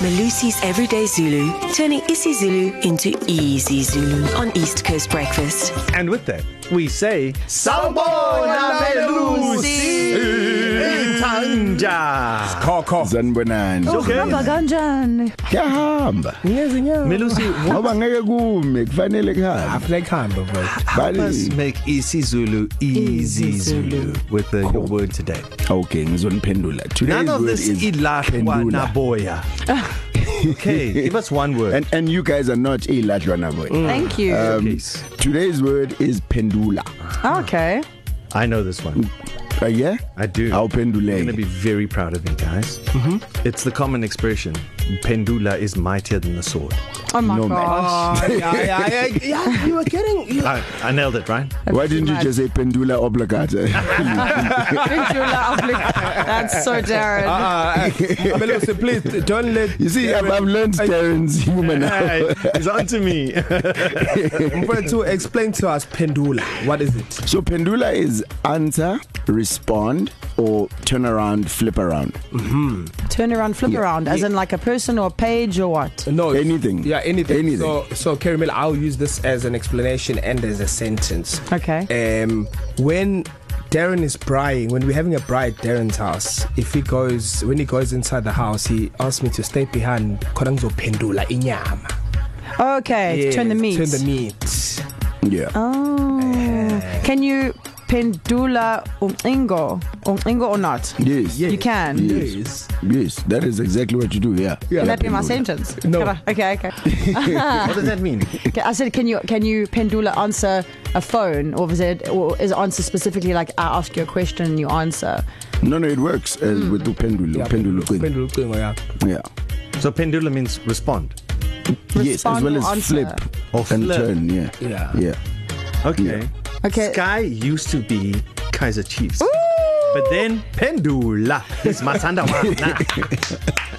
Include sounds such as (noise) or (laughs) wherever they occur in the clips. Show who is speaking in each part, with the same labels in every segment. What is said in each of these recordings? Speaker 1: Malusi's Everyday Zulu, turning isiZulu into easy Zulu on East Coast Breakfast.
Speaker 2: And with that, we say
Speaker 3: Sawubona, Melusi.
Speaker 2: Tanja.
Speaker 3: Khokho
Speaker 2: Oh,
Speaker 3: sanibonani
Speaker 4: Uhamba kanjani?
Speaker 3: kuyahamba
Speaker 2: Melusi,
Speaker 3: ngoba ngeke kume kufanele kuhambe
Speaker 5: Like Hambo, bro.
Speaker 2: let's
Speaker 3: bali
Speaker 2: make isiZulu easy Zulu with the, your
Speaker 3: Cool.
Speaker 2: word today.
Speaker 3: okay ngizoniphendula
Speaker 2: None of this ilahlwa
Speaker 3: Pendula.
Speaker 2: naboya.
Speaker 3: (laughs)
Speaker 2: Okay, give us one word.
Speaker 3: and and you guys are not ilahlwa nabo
Speaker 2: Mm.
Speaker 4: Thank you.
Speaker 3: um
Speaker 2: Please.
Speaker 3: today's word is pendula
Speaker 4: Okay.
Speaker 2: I know this one.
Speaker 3: uh, yeah
Speaker 2: I do. I'm going to
Speaker 3: awuphenduleke
Speaker 2: be very proud of you guys. Mm-hmm. It's the common expression, pendula is mightier than the sword.
Speaker 4: Oh my
Speaker 3: No,
Speaker 4: no,
Speaker 3: man.
Speaker 4: gosh. Oh.
Speaker 5: Oh, yeah, yeah, yeah, yeah, you were
Speaker 4: (laughs)
Speaker 5: getting. You,
Speaker 2: (laughs) I, I nailed it,
Speaker 3: (laughs)
Speaker 2: right?
Speaker 3: why didn't you just say pendula
Speaker 2: (laughs)
Speaker 3: obligata
Speaker 4: Pendula oblig- That's
Speaker 5: (laughs)
Speaker 4: so Darren.
Speaker 5: uh, uh, Melusi, please don't let.
Speaker 3: you see I've, I've learned Terence human now.
Speaker 2: Hey, it's on to
Speaker 3: (laughs)
Speaker 2: me.
Speaker 5: to explain to us Pendula. What is it?
Speaker 3: So pendula is answer, respond, or turn around, flip around.
Speaker 4: Turn around, flip yeah. around, as yeah. in like a person or a page or what?
Speaker 5: No,
Speaker 3: Anything.
Speaker 5: Yeah, anything.
Speaker 3: Anything.
Speaker 5: So, so Kerry Miller, I'll use this as an explanation and as a sentence.
Speaker 4: Okay.
Speaker 5: Um, when Darren is brying, when we're having a bry at Darren's house, if he goes, when he goes inside the house, he asks me to stay behind. Koranzo pendula inyama.
Speaker 4: Okay, yes, turn the meat.
Speaker 5: Turn the meat.
Speaker 3: Yeah.
Speaker 4: Oh. Can you pendula un ingo, un ingo or not?
Speaker 3: Yes.
Speaker 4: You can.
Speaker 3: Yes. yes. Yes, that is exactly what you do. Yeah.
Speaker 5: Yeah.
Speaker 4: Can that be my
Speaker 3: pendula.
Speaker 4: sentence?
Speaker 5: No.
Speaker 4: Can I- Okay, okay.
Speaker 2: what does that mean?
Speaker 4: Okay, I said, can you can you pendula answer a phone, or is it or is answer specifically like I ask you a question and you answer?
Speaker 3: No, no, it works uh, mm. with the pendulum. Yeah, pendulum. Pendulum.
Speaker 5: Pendula ucingo, yeah.
Speaker 3: Yeah.
Speaker 2: (laughs) So pendula means respond.
Speaker 3: Respond yes, as
Speaker 4: Respond
Speaker 3: well as
Speaker 4: or answer.
Speaker 3: flip
Speaker 2: Or
Speaker 3: and
Speaker 2: flip.
Speaker 3: turn. Yeah.
Speaker 5: Yeah.
Speaker 3: Yeah.
Speaker 2: Okay.
Speaker 4: Yeah. Okay.
Speaker 2: Sky used to be Kaiser Chiefs. Ooh! But then pendula is (laughs) Masandawana.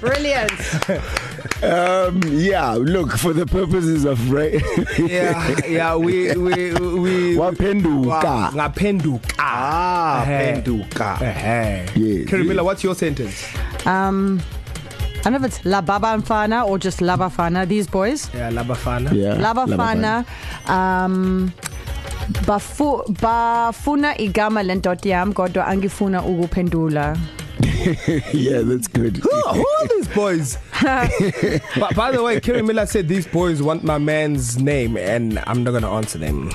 Speaker 4: Brilliant.
Speaker 3: Um, yeah. Look, for the purposes of right. (laughs)
Speaker 5: yeah, yeah, we we we
Speaker 3: Wapenduka. (laughs)
Speaker 5: ngapenduka.
Speaker 2: ah, penduka.
Speaker 5: Hey.
Speaker 3: Yes,
Speaker 5: Kerry
Speaker 3: yes.
Speaker 5: Miller, what's your sentence?
Speaker 4: Um, I don't know if it's La Baba and Fana or just La Bafana, these boys.
Speaker 5: Yeah, labafana.
Speaker 2: Uh,
Speaker 3: yeah.
Speaker 4: La Bafana. Um, bafu, bafuna igama lentoti yam kodwa angifuna ukuphendula.
Speaker 3: yeah, that's good.
Speaker 5: Who, who are these (laughs) boys? but by the way, Kerry Miller said these boys want my man's name, and I'm not gonna answer them.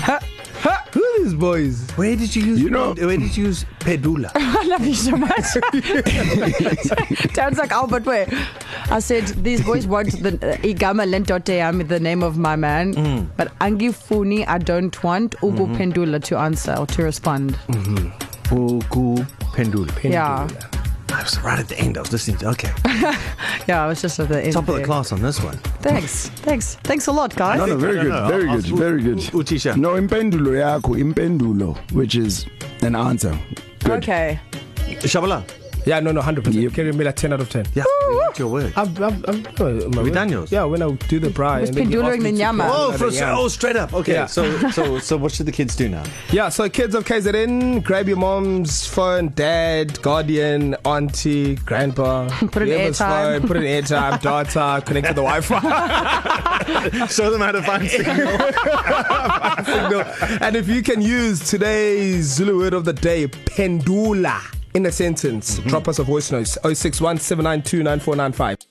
Speaker 5: Ha, ha, who are these boys?
Speaker 2: Where did you use
Speaker 3: You know-
Speaker 2: where did you use (laughs) pendula?
Speaker 4: (laughs) I love you so much. (laughs) Sounds like Albert Way. I said these boys want the uh, igama lentote yam, the name of my man, mm. but angifuni I don't want ukuphendula mm-hmm. to answer or to respond. Mm-hmm.
Speaker 2: Uku pendula.
Speaker 4: Yeah,
Speaker 2: I was right at the end. I was listening to
Speaker 4: (laughs)
Speaker 2: Okay.
Speaker 4: yeah. I was just at the end.
Speaker 2: Top of the
Speaker 4: there.
Speaker 2: class on this one.
Speaker 4: Thanks, thanks, thanks a lot, guys.
Speaker 3: No, no, very
Speaker 2: No,
Speaker 3: good,
Speaker 2: no,
Speaker 3: very
Speaker 2: I'll-
Speaker 3: good,
Speaker 2: I'll-
Speaker 3: very good.
Speaker 2: U- Utisha.
Speaker 3: No, impendulo yako, impendulo, which is an answer. Good.
Speaker 4: Okay.
Speaker 2: Shabala.
Speaker 5: Yeah, no, no, hundred percent.
Speaker 3: Yep.
Speaker 5: Kerry Miller, ten out of ten.
Speaker 2: Yeah. What's your word?
Speaker 5: I've, I've, I've, no, my
Speaker 2: we
Speaker 5: word.
Speaker 2: done yours?
Speaker 5: Yeah, when I do the bri.
Speaker 4: was
Speaker 5: and then you
Speaker 4: pendulaing
Speaker 5: ask me
Speaker 4: the
Speaker 5: to
Speaker 4: nyama.
Speaker 5: pendula
Speaker 2: Oh,
Speaker 5: the
Speaker 2: for,
Speaker 5: nyama.
Speaker 2: oh, straight up. Okay.
Speaker 5: Yeah.
Speaker 2: So so so what should the kids do now?
Speaker 5: Yeah, so kids of KZN, grab your mom's phone, dad, guardian, auntie,
Speaker 4: (laughs)
Speaker 5: grandpa.
Speaker 4: Put in
Speaker 5: whoever's
Speaker 4: airtime.
Speaker 5: Phone, put
Speaker 4: (laughs)
Speaker 5: in airtime, data, connect to the
Speaker 2: (laughs)
Speaker 5: Wi-Fi (laughs)
Speaker 2: Show them how to find (laughs) signal.
Speaker 5: signal. And if you can use today's Zulu word of the day, oh pendula, in a sentence, mm-hmm. drop us a voice note, 061 792 9495.